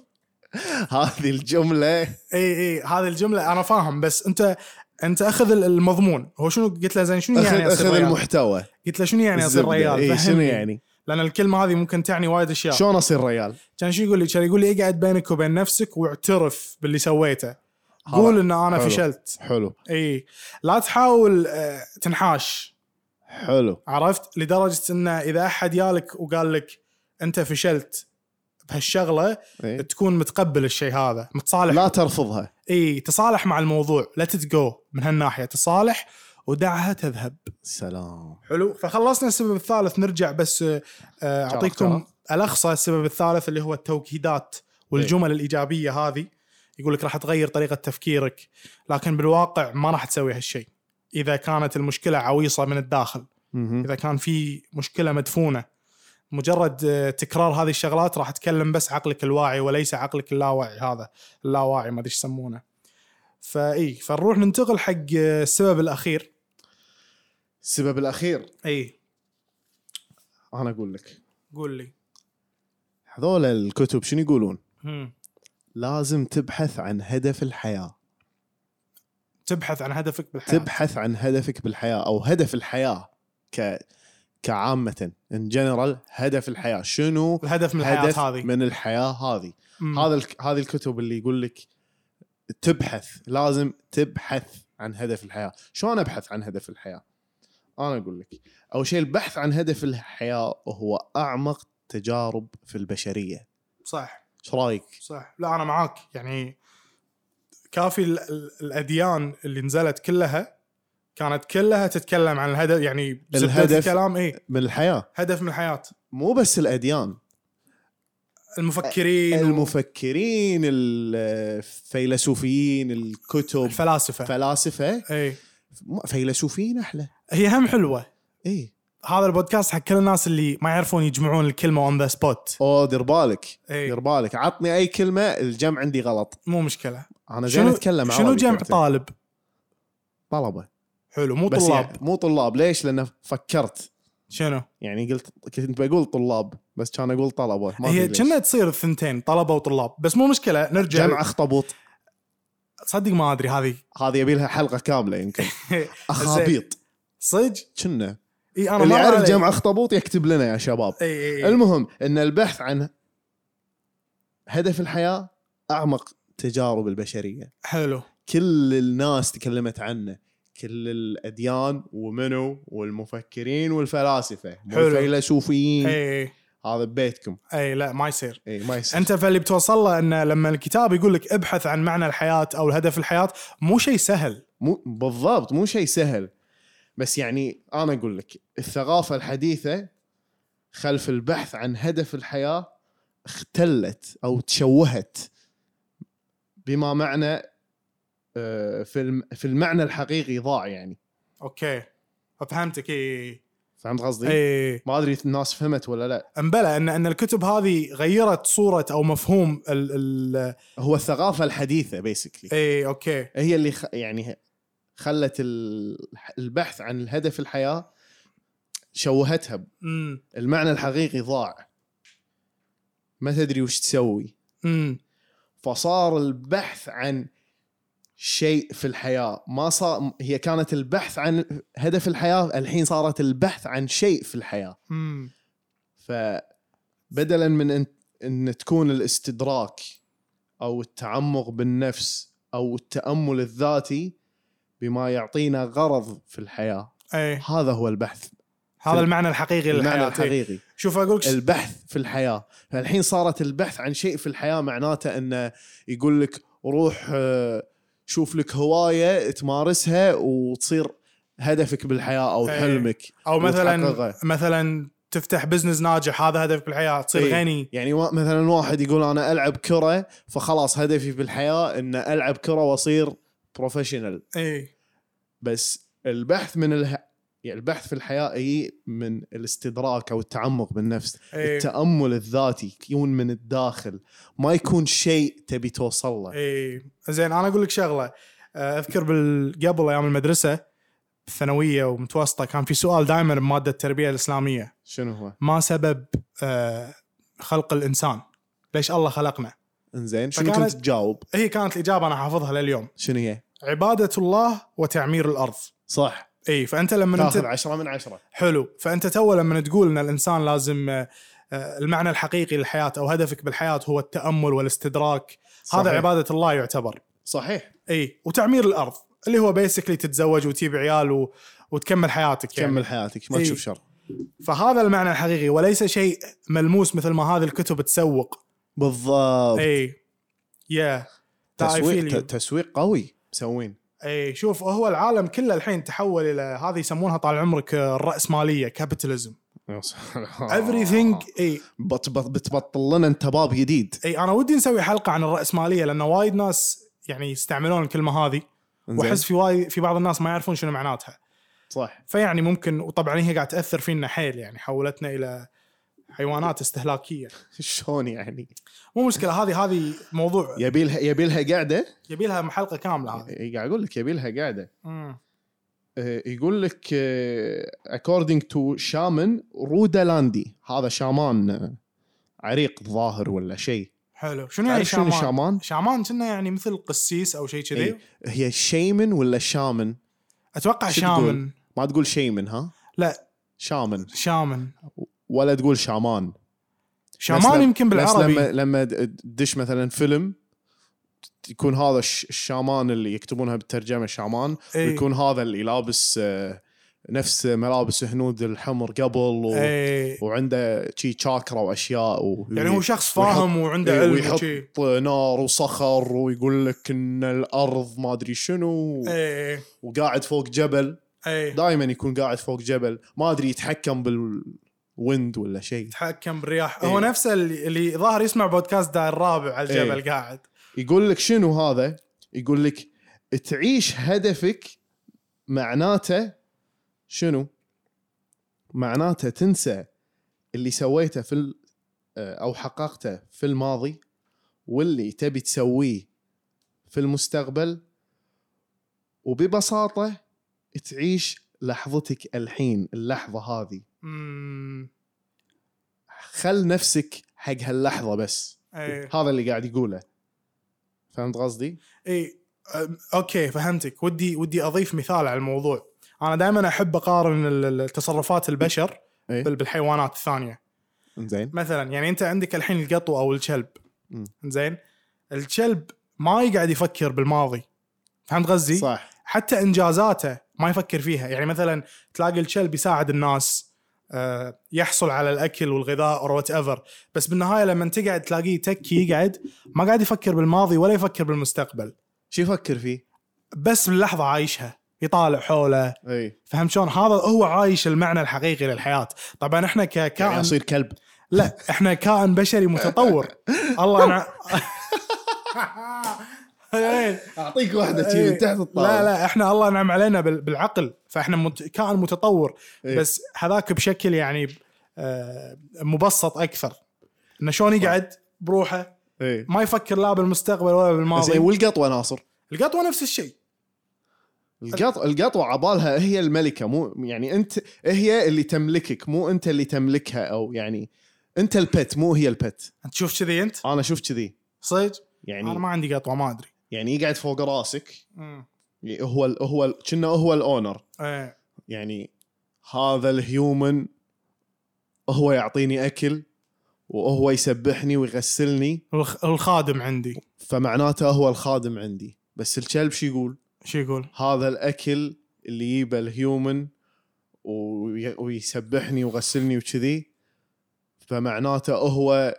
هذه الجمله
اي اي إيه، هذه الجمله انا فاهم بس انت انت اخذ ال- المضمون هو شنو قلت له زين شنو
اخذ
يعني
اخذ
اصير ريال؟
المحتوى
قلت له شنو يعني اصير
الزبدة.
ريال؟
اي شنو
فهمني.
يعني
لان الكلمه هذه ممكن تعني وايد اشياء
شلون اصير ريال
كان شو يقول لي؟ كان يقول لي اقعد بينك وبين نفسك واعترف باللي سويته قول ان انا
حلو.
فشلت
حلو
اي لا تحاول آه، تنحاش
حلو
عرفت لدرجه انه اذا احد يالك وقال لك انت فشلت بهالشغله
إي.
تكون متقبل الشيء هذا متصالح
إيه. لا ترفضها
اي تصالح مع الموضوع لا تتجو من هالناحيه تصالح ودعها تذهب
سلام
حلو فخلصنا السبب الثالث نرجع بس آه، آه، اعطيكم
شارك.
الخصى السبب الثالث اللي هو التوكيدات والجمل الايجابيه هذه يقول لك راح تغير طريقه تفكيرك لكن بالواقع ما راح تسوي هالشيء اذا كانت المشكله عويصه من الداخل
مهم.
اذا كان في مشكله مدفونه مجرد آه، تكرار هذه الشغلات راح تكلم بس عقلك الواعي وليس عقلك اللاواعي هذا اللاواعي ما ادري ايش يسمونه فاي فنروح ننتقل حق آه، السبب الاخير
السبب الاخير
اي
انا اقول لك
إيه، قول لي
هذول الكتب شنو يقولون؟
مم.
لازم تبحث عن هدف الحياه،
تبحث عن هدفك بالحياه
تبحث عن هدفك بالحياه او هدف الحياه ك كعامه ان جنرال هدف الحياه، شنو
الهدف من الحياه
هدف
هذه
من الحياه هذه؟
مم.
هذا الك- هذه الكتب اللي يقول لك تبحث لازم تبحث عن هدف الحياه، شلون ابحث عن هدف الحياه؟ انا اقول لك، اول شيء البحث عن هدف الحياه هو اعمق تجارب في البشريه،
صح
ايش رايك؟
صح لا انا معاك يعني كافي ال- ال- الاديان اللي نزلت كلها كانت كلها تتكلم عن الهدف يعني بسبة
الهدف.
الكلام اي
من الحياه،
هدف من الحياه
مو بس الاديان
المفكرين
المفكرين الفيلسوفيين الكتب
الفلاسفه
فلاسفه
اي
م- فيلسوفيين إيه. احلى
إيه. هي هم حلوه
اي
إيه. هذا البودكاست حق كل الناس اللي ما يعرفون يجمعون الكلمه اون ذا سبوت
او دير بالك
إي.
دير بالك عطني اي كلمه الجمع عندي غلط
إيه، مو مشكله
انا زين اتكلم
شنو
عربي
جمع
كنت.
طالب
طلبه
حلو مو
بس
طلاب
يعني مو طلاب ليش؟ لان فكرت
شنو
يعني قلت كنت بقول طلاب بس كان اقول طلبه ما
هي
هي
كنا تصير الثنتين طلبه وطلاب بس مو مشكله نرجع
جمع اخطبوط
صدق ما ادري هذه
هذه يبي لها حلقه كامله
(laughs)
يمكن اخابيط
صدق
كنا
اي انا
اللي
مر
يعرف
علي.
جمع اخطبوط يكتب لنا يا شباب
اي اي
المهم ان البحث عن هدف الحياه اعمق تجارب البشريه
حلو
كل الناس تكلمت عنه كل الاديان ومنو والمفكرين والفلاسفه
حلو. إيه.
والفيلسوفيين
اي اي
هذا ببيتكم
اي لا ما يصير
اي ما يصير
انت فاللي بتوصل له انه لما الكتاب يقول لك ابحث عن معنى الحياه او هدف الحياه مو شيء سهل
مو بالضبط مو شيء سهل بس يعني انا اقول لك الثقافه الحديثه خلف البحث عن هدف الحياه اختلت او تشوهت بما معنى آه، في الم- في المعنى الحقيقي ضاع يعني
اوكي فهمتك اي
فهمت قصدي؟
اي
ما ادري الناس فهمت ولا لا
امبلى ان ان الكتب هذه غيرت صوره او مفهوم ال ال
هو الثقافه الحديثه بيسكلي
اي اوكي
هي اللي خ... يعني خلت ال- البحث عن الهدف الحياه شوهتها
امم
المعنى الحقيقي ضاع ما تدري وش تسوي
امم
فصار البحث عن شيء في الحياة ما صار هي كانت البحث عن هدف الحياة الحين صارت البحث عن شيء في الحياة
امم
فبدلا من أن, أن تكون الاستدراك أو التعمق بالنفس أو التأمل الذاتي بما يعطينا غرض في الحياة
اي
هذا هو البحث
هذا المعنى الحقيقي
المعنى
للحياه إي.
الحقيقي
شوف اقول لك
البحث في الحياه فالحين صارت البحث عن شيء في الحياه معناته انه يقول لك روح آه، شوف لك هوايه تمارسها وتصير هدفك بالحياه او
إيه.
حلمك
او مثلا
وتحققه.
مثلا تفتح بزنس ناجح هذا هدفك بالحياه تصير
إيه.
غني
يعني وا- مثلا واحد يقول انا العب كره فخلاص هدفي بالحياه ان العب كره واصير بروفيشنال
اي
بس البحث من اله... يعني البحث في الحياه هي من الاستدراك او التعمق بالنفس
إيه.
التامل الذاتي يكون من الداخل ما يكون شيء تبي توصل له
اي إيه. زين انا اقول لك شغله آه، اذكر بالقبل ايام المدرسه الثانويه ومتوسطه كان في سؤال دائما بماده التربيه الاسلاميه
شنو هو
ما سبب آه، خلق الانسان؟ ليش الله خلقنا؟
انزين شنو
فكانت-
كنت تجاوب
هي كانت الاجابه انا حافظها لليوم
شنو هي
عباده الله وتعمير الارض
صح
اي فانت لما
تاخذ
انت
عشرة من عشرة
حلو فانت تو لما تقول ان الانسان لازم آه، آه، المعنى الحقيقي للحياه او هدفك بالحياه هو التامل والاستدراك
صحيح.
هذا عباده الله يعتبر
صحيح
اي وتعمير الارض اللي هو بيسكلي تتزوج وتجيب عيال و... وتكمل حياتك يعني
كمل حياتك ما
إيه.
تشوف شر
فهذا المعنى الحقيقي وليس شيء ملموس مثل ما هذه الكتب تسوق
بالضبط
اي يا
تسويق ت- تسويق قوي (laughs) مسوين
اي شوف هو العالم كله الحين تحول الى هذه يسمونها طال عمرك آه، الراسماليه كابيتاليزم
آه.
everything اي
بت- بت- بتبطل لنا انت باب جديد
اي انا ودي نسوي حلقه عن الراسماليه لان وايد ناس يعني يستعملون الكلمه هذه
إنزين.
واحس في وايد في بعض الناس ما يعرفون شنو معناتها
صح (laughs)
فيعني ممكن وطبعا هي قاعد تاثر فينا حيل يعني حولتنا الى حيوانات استهلاكيه
شلون يعني
مو مشكله هذه هذه موضوع
يبي لها يبي لها قاعده
يبي لها حلقه كامله هذه
إيه، قاعد اقول لك يبي لها قاعده
مم.
آه، يقول لك آه، according to شامن رودالاندي هذا شامان آه، عريق ظاهر ولا شيء
حلو شنو يعني
تعرف شنو
شامان؟
شامان؟
شامان كنا يعني مثل قسيس او شيء كذي
إيه. هي شيمن ولا شامن؟
اتوقع
شو تقول؟
شامن
ما تقول شيمن ها؟
لا
شامن
شامن
ولا تقول شامان بس
شامان
لما-
يمكن
بس
بالعربي
لما لما تدش مثلا فيلم يكون هذا الش- الشامان اللي يكتبونها بالترجمه شامان
إيه.
ويكون هذا اللي لابس آه، نفس ملابس هنود الحمر قبل و...
إيه.
وعنده شي تشاكرا واشياء و...
يعني هو شخص
ويحط-
فاهم وعنده
إيه،
علم وشي.
ويحط نار وصخر ويقول لك ان الارض ما ادري شنو
ايه
وقاعد فوق جبل
ايه
دائما يكون قاعد فوق جبل ما ادري يتحكم بالويند ولا شيء
يتحكم بالرياح
إيه.
هو نفسه اللي, اللي ظاهر يسمع بودكاست داير الرابع على الجبل
إيه.
قاعد
يقول لك شنو هذا؟ يقول لك تعيش هدفك معناته شنو؟ معناته تنسى اللي سويته في ال- او حققته في الماضي واللي تبي تسويه في المستقبل وببساطه تعيش لحظتك الحين اللحظه هذه
امم
خل نفسك حق هاللحظه بس
ايه
هذا اللي قاعد يقوله فهمت قصدي؟
اي إيه. أم، اوكي فهمتك ودي ودي اضيف مثال على الموضوع انا دائما احب اقارن ال- ال- تصرفات البشر
إيه.
بال- بالحيوانات الثانيه
زين
مثلا يعني انت عندك الحين القطو او الكلب
مم.
زين الكلب ما يقعد يفكر بالماضي فهمت قصدي
صح
حتى انجازاته ما يفكر فيها يعني مثلا تلاقي الكلب يساعد الناس آه، يحصل على الاكل والغذاء او وات ايفر بس بالنهايه لما تقعد تلاقيه تكي يقعد ما قاعد يفكر بالماضي ولا يفكر بالمستقبل
شو يفكر فيه؟
بس باللحظه عايشها يطالع حوله
اي
فهمت شلون هذا هو عايش المعنى الحقيقي للحياه طبعا احنا ككائن
يعني يصير كلب
لا احنا كائن بشري
(laughs)
متطور الله (laughs) انا إيه.
اعطيك واحده
إيه.
تجي من تحت الطاوله
لا لا احنا الله نعم علينا بال- بالعقل فاحنا مت... كائن متطور
إيه.
بس هذاك بشكل يعني آه، مبسط اكثر انه شلون يقعد بروحه
اي
ما يفكر لا بالمستقبل ولا
زين
بالماضي
والقطوه ناصر
القطوه نفس الشيء
القط القطوه عبالها هي الملكه مو يعني انت هي اللي تملكك مو انت اللي تملكها او يعني انت البت مو هي البت
انت تشوف كذي انت
انا اشوف كذي
صدق انا
يعني
ما عندي قطوه ما ادري
يعني يقعد فوق راسك
مم.
هو ال هو ال- كنا هو الاونر
ايه
يعني هذا الهيومن هو يعطيني اكل وهو يسبحني ويغسلني
والخ- الخادم عندي
فمعناته هو الخادم عندي بس الكلب شو يقول
شو يقول؟
هذا الاكل اللي يجيبه الهيومن وي- ويسبحني وغسلني وكذي فمعناته هو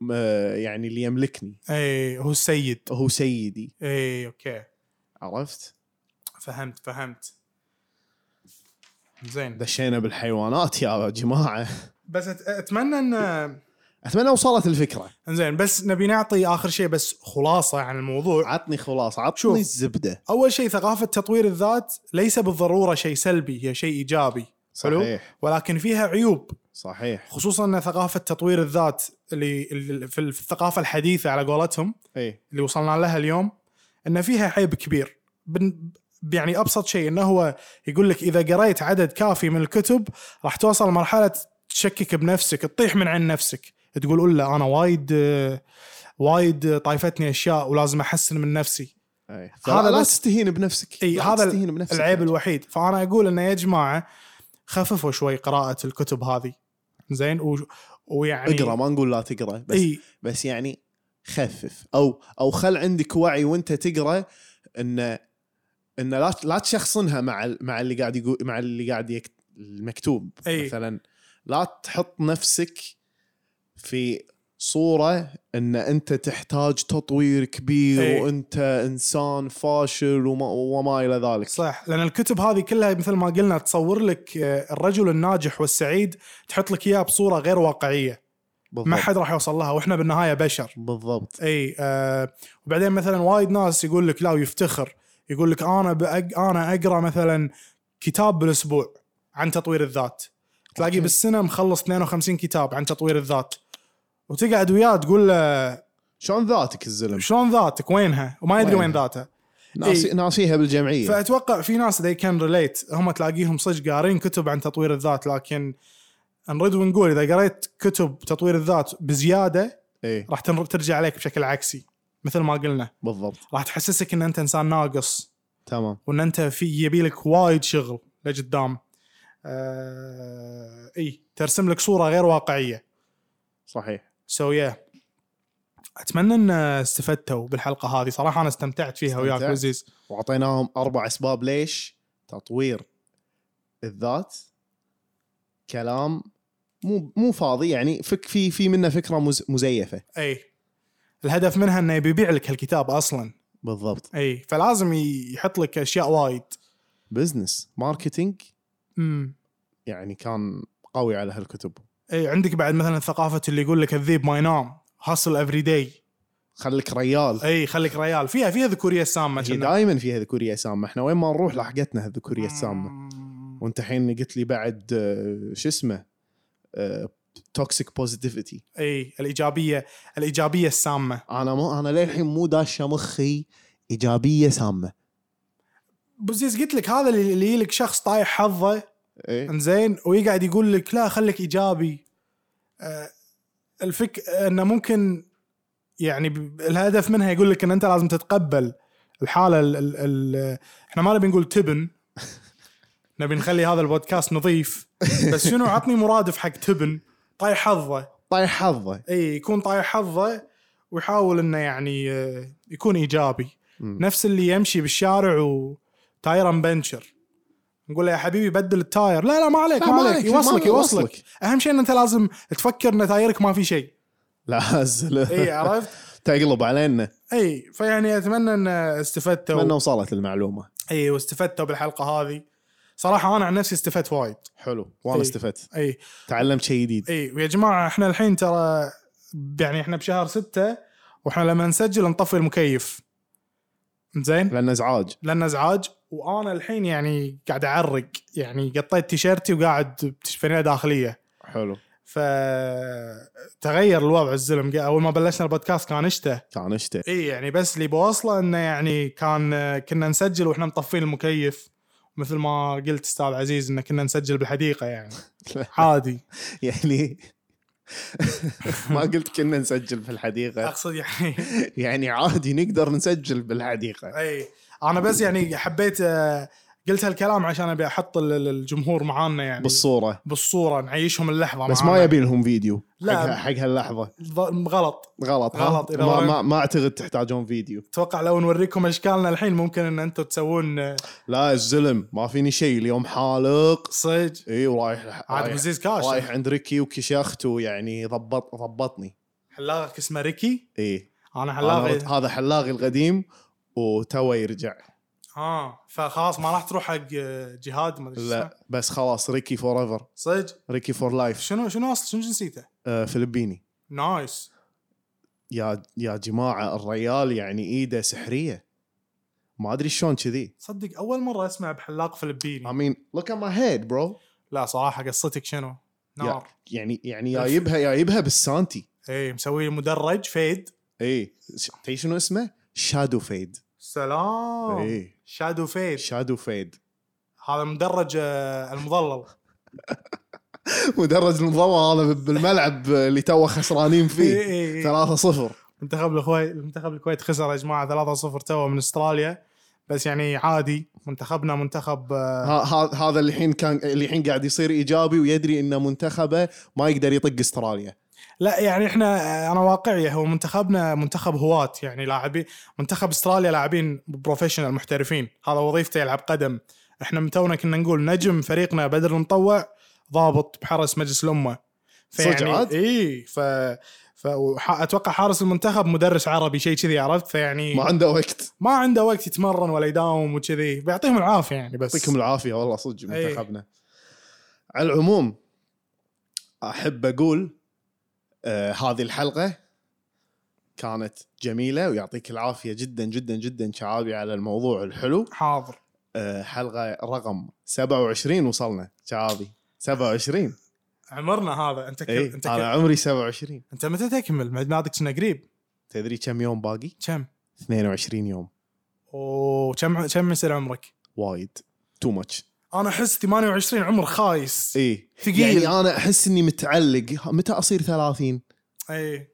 م- يعني اللي يملكني
ايه هو السيد إيه،
هو سيدي
ايه اوكي
عرفت
فهمت فهمت زين
دشينا بالحيوانات يا جماعه
بس أت- اتمنى ان
اتمنى وصلت الفكره
زين بس نبي نعطي اخر شيء بس خلاصه عن الموضوع
عطني خلاص عطني
شوف.
الزبده
اول شيء ثقافه تطوير الذات ليس بالضروره شيء سلبي هي شيء ايجابي حلو
صحيح.
ولكن فيها عيوب
صحيح
خصوصا ان ثقافه تطوير الذات اللي اللي في الثقافه الحديثه على قولتهم
اي
اللي وصلنا لها اليوم ان فيها عيب كبير بن يعني ابسط شيء انه هو يقول لك اذا قريت عدد كافي من الكتب راح توصل مرحله تشكك بنفسك تطيح من عند نفسك تقول الا انا وايد آه، وايد طايفتني اشياء ولازم احسن من نفسي
اي
هذا
هذا إيه. لا
بس-
تستهين بنفسك
اي
لا
هذا
تستهين بنفسك
العيب
يا
الوحيد فانا اقول انه يا جماعه خففوا شوي قراءه الكتب هذه زين و... ويعني
اقرا ما نقول لا تقرا بس
اي
بس يعني خفف او او خل عندك وعي وانت تقرا ان ان لا لا تشخصنها مع ال- مع اللي قاعد يقول مع اللي قاعد يكت المكتوب
أي.
مثلا لا تحط نفسك في صوره ان انت تحتاج تطوير كبير
أي.
وانت انسان فاشل وما, وما الى ذلك
صح لان الكتب هذه كلها مثل ما قلنا تصور لك آه، الرجل الناجح والسعيد تحط لك اياه بصوره غير واقعيه
بالضبط
ما حد راح يوصل لها واحنا بالنهايه بشر
بالضبط
اي آه وبعدين مثلا وايد ناس يقول لك لا ويفتخر يقول لك انا بأق... انا اقرا مثلا كتاب بالاسبوع عن تطوير الذات تلاقي
أوكي.
بالسنه مخلص 52 كتاب عن تطوير الذات وتقعد وياه تقول له
شلون ذاتك الزلم
شلون ذاتك وينها وما يدري وين
وينها؟
ذاته
ناسي
أي.
ناسيها بالجمعيه
فاتوقع في ناس they كان ريليت هم تلاقيهم صدق قارين كتب عن تطوير الذات لكن نرد ونقول اذا قريت كتب تطوير الذات بزياده
اي
راح تن- ترجع عليك بشكل عكسي مثل ما قلنا
بالضبط
راح تحسسك ان انت انسان ناقص
تمام
وان انت في يبيلك وايد شغل لقدام آه اي ترسم لك صوره غير واقعيه
صحيح
سو so yeah. اتمنى ان استفدتوا بالحلقه هذه صراحه انا استمتعت فيها وياك
استمتعت.
عزيز
واعطيناهم اربع اسباب ليش تطوير الذات كلام مو مو فاضي يعني فك في في منه فكره مز مزيفه
اي الهدف منها انه يبي يبيع لك الكتاب اصلا
بالضبط
اي فلازم ي- يحط لك اشياء وايد
بزنس ماركتينج
امم
يعني كان قوي على هالكتب
اي عندك بعد مثلا ثقافه اللي يقول لك الذيب ما ينام هاسل افري داي
خليك ريال
اي خليك ريال فيها فيها ذكوريه سامه
هي
كنا.
دائما فيها ذكوريه سامه احنا وين ما نروح لحقتنا هالذكوريه السامه
أمم.
وانت الحين قلت لي بعد آه، شو اسمه آه، توكسيك بوزيتيفيتي
اي الايجابيه الايجابيه السامه
انا مو انا للحين مو داشه مخي ايجابيه سامه
بزيز قلت لك هذا اللي اللي لك شخص طايح حظه
إيه؟
انزين ويقعد يقول لك لا خليك ايجابي آه، الفك انه ممكن يعني ب- الهدف منها يقول لك ان انت لازم تتقبل الحاله ال ال ال احنا ما نبي نقول تبن (laughs) نبي نخلي هذا البودكاست نظيف بس شنو عطني مرادف حق تبن طايح حظه
طايح حظه
اي يكون طايح حظه ويحاول انه يعني آه، يكون ايجابي
مم.
نفس اللي يمشي بالشارع وتايره مبنشر نقول له يا حبيبي بدل التاير لا لا ما عليك
لا،
ما
ما
عليك
عليك،
يوصلك
ما-
يوصلك
يوصلك.
اهم شيء ان انت لازم تفكر ان تايرك ما في
(laughs)
شيء
لا
اي
(laughs) الزلمه
عرفت
تقلب علينا
اي فيعني اتمنى ان استفدتوا
اتمنى وصلت المعلومه
اي واستفدتوا بالحلقه هذه صراحه انا عن نفسي استفدت وايد
حلو وانا
إيه.
استفدت
اي
تعلمت شيء جديد
اي ويا جماعه احنا الحين ترى يعني احنا بشهر ستة واحنا لما نسجل نطفي المكيف زين
لان ازعاج
لان ازعاج وانا الحين يعني قاعد اعرق يعني قطيت تيشيرتي وقاعد بتشفينيه داخليه
حلو
فتغير الوضع الزلم قا- اول ما بلشنا البودكاست كان اشته
كان اشتي
اي يعني بس اللي بوصله انه يعني كان كنا نسجل واحنا مطفين المكيف مثل ما قلت استاذ عزيز ان كنا نسجل بالحديقه يعني عادي
(laughs) يعني (laughs) ما قلت كنا نسجل في الحديقه
اقصد يعني
يعني عادي نقدر نسجل بالحديقه
اي انا بس يعني حبيت آه، قلت هالكلام عشان ابي احط ال- ال- الجمهور معانا يعني
بالصوره
بالصوره نعيشهم اللحظه
بس
معانا.
ما يبي لهم فيديو
لا.
حق حق هاللحظه
ظ- غلط
غلط ها؟
غلط، إذا
ما,
وين-
ما ما اعتقد تحتاجون فيديو
اتوقع لو نوريكم اشكالنا الحين ممكن ان انتم تسوون آه،
لا الزلم ما فيني شيء اليوم حالق
صج
اي ورايح
عاد
رايح-
مزيز كاش.
رايح عند ريكي وكشخت ويعني ضبط ضبطني
حلاقك اسمه ريكي
اي
انا
أنا رت-
حلاقي
هذا حلاقي القديم وتوه يرجع
اه فخلاص ما راح تروح حق آه، جهاد ما ادري شو اسمه.
لا بس خلاص ريكي فور ايفر
صدق
ريكي فور لايف
شنو شنو اصلا شنو جنسيته؟
فلبيني
نايس
يا يا جماعه الريال يعني ايده سحريه ما ادري شلون كذي
صدق اول مره اسمع بحلاق فلبيني
I mean look at my head bro
لا صراحه قصتك شنو؟ نار
يعني يعني جايبها جايبها بالسانتي
اي مسوي مدرج فيد
اي ش- تدري شنو اسمه؟ إيه. شادو فيد
سلام
اي
شادو فيد
شادو فيد
هذا مدرج آه، المظلل
(laughs) مدرج المضوى هذا بالملعب اللي تو خسرانين
إي،
فيه
إي، إي.
3 0
إيه، منتخب الكويت منتخب الكويت خسر يا جماعه 3-0 تو من استراليا بس يعني عادي منتخبنا منتخب آه،
هذا اللي الحين كان اللي الحين قاعد يصير ايجابي ويدري ان منتخبه ما يقدر يطق استراليا
لا يعني احنا آه، انا واقعي هو منتخبنا منتخب هواة يعني لاعبين منتخب استراليا لاعبين بروفيشنال محترفين هذا وظيفته يلعب قدم احنا من تونا كنا نقول نجم فريقنا بدر المطوع ضابط بحرس مجلس الامه
صدق عاد؟
اي ف ف وح- اتوقع حارس المنتخب مدرس عربي شيء كذي عرفت فيعني
ما عنده وقت
ما عنده وقت يتمرن ولا يداوم وكذي بيعطيهم العافيه يعني بس إيه.
يعطيكم العافيه والله صدق
إي.
منتخبنا على العموم احب اقول آه هذه الحلقه كانت جميله ويعطيك العافيه جدا جدا جدا شعابي على الموضوع الحلو
حاضر
آه حلقه رقم 27 وصلنا شعابي 27
عمرنا هذا انت ك...
اي
انت ك...
انا عمري 27
انت متى تكمل ميلادك كنا قريب
تدري كم يوم باقي
كم
22 يوم
وكم كم يصير عمرك؟
وايد تو ماتش
انا احس 28 عمر خايس
اي
ثقيل
يعني انا احس اني متعلق متى اصير 30
اي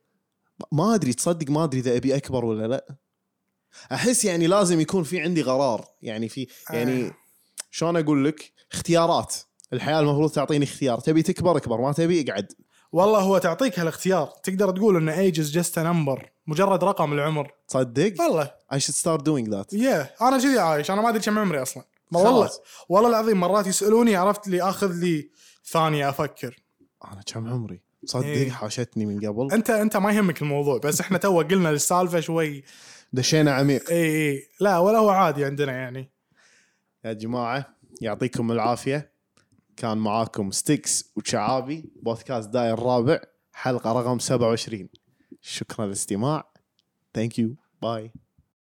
ما ادري تصدق ما ادري اذا ابي اكبر ولا لا احس يعني لازم يكون في عندي قرار يعني في يعني
آه.
شلون اقول لك اختيارات الحياه المفروض تعطيني اختيار تبي تكبر اكبر ما تبي اقعد
والله هو تعطيك هالاختيار تقدر تقول ان ايج از جاست نمبر مجرد رقم العمر
تصدق
والله
I should start doing that
يا انا كذي عايش انا ما ادري كم عمري اصلا ما
خلاص.
والله والله العظيم مرات يسالوني عرفت لي اخذ لي ثانيه افكر
انا كم عمري تصدق
إيه.
حاشتني من قبل
انت انت ما يهمك الموضوع بس احنا تو قلنا السالفه شوي
دشينا عميق
اي اي لا ولا هو عادي عندنا يعني
يا جماعه يعطيكم العافيه كان معاكم ستيكس وشعابي بودكاست داير الرابع حلقه رقم 27 شكرا للاستماع ثانك يو باي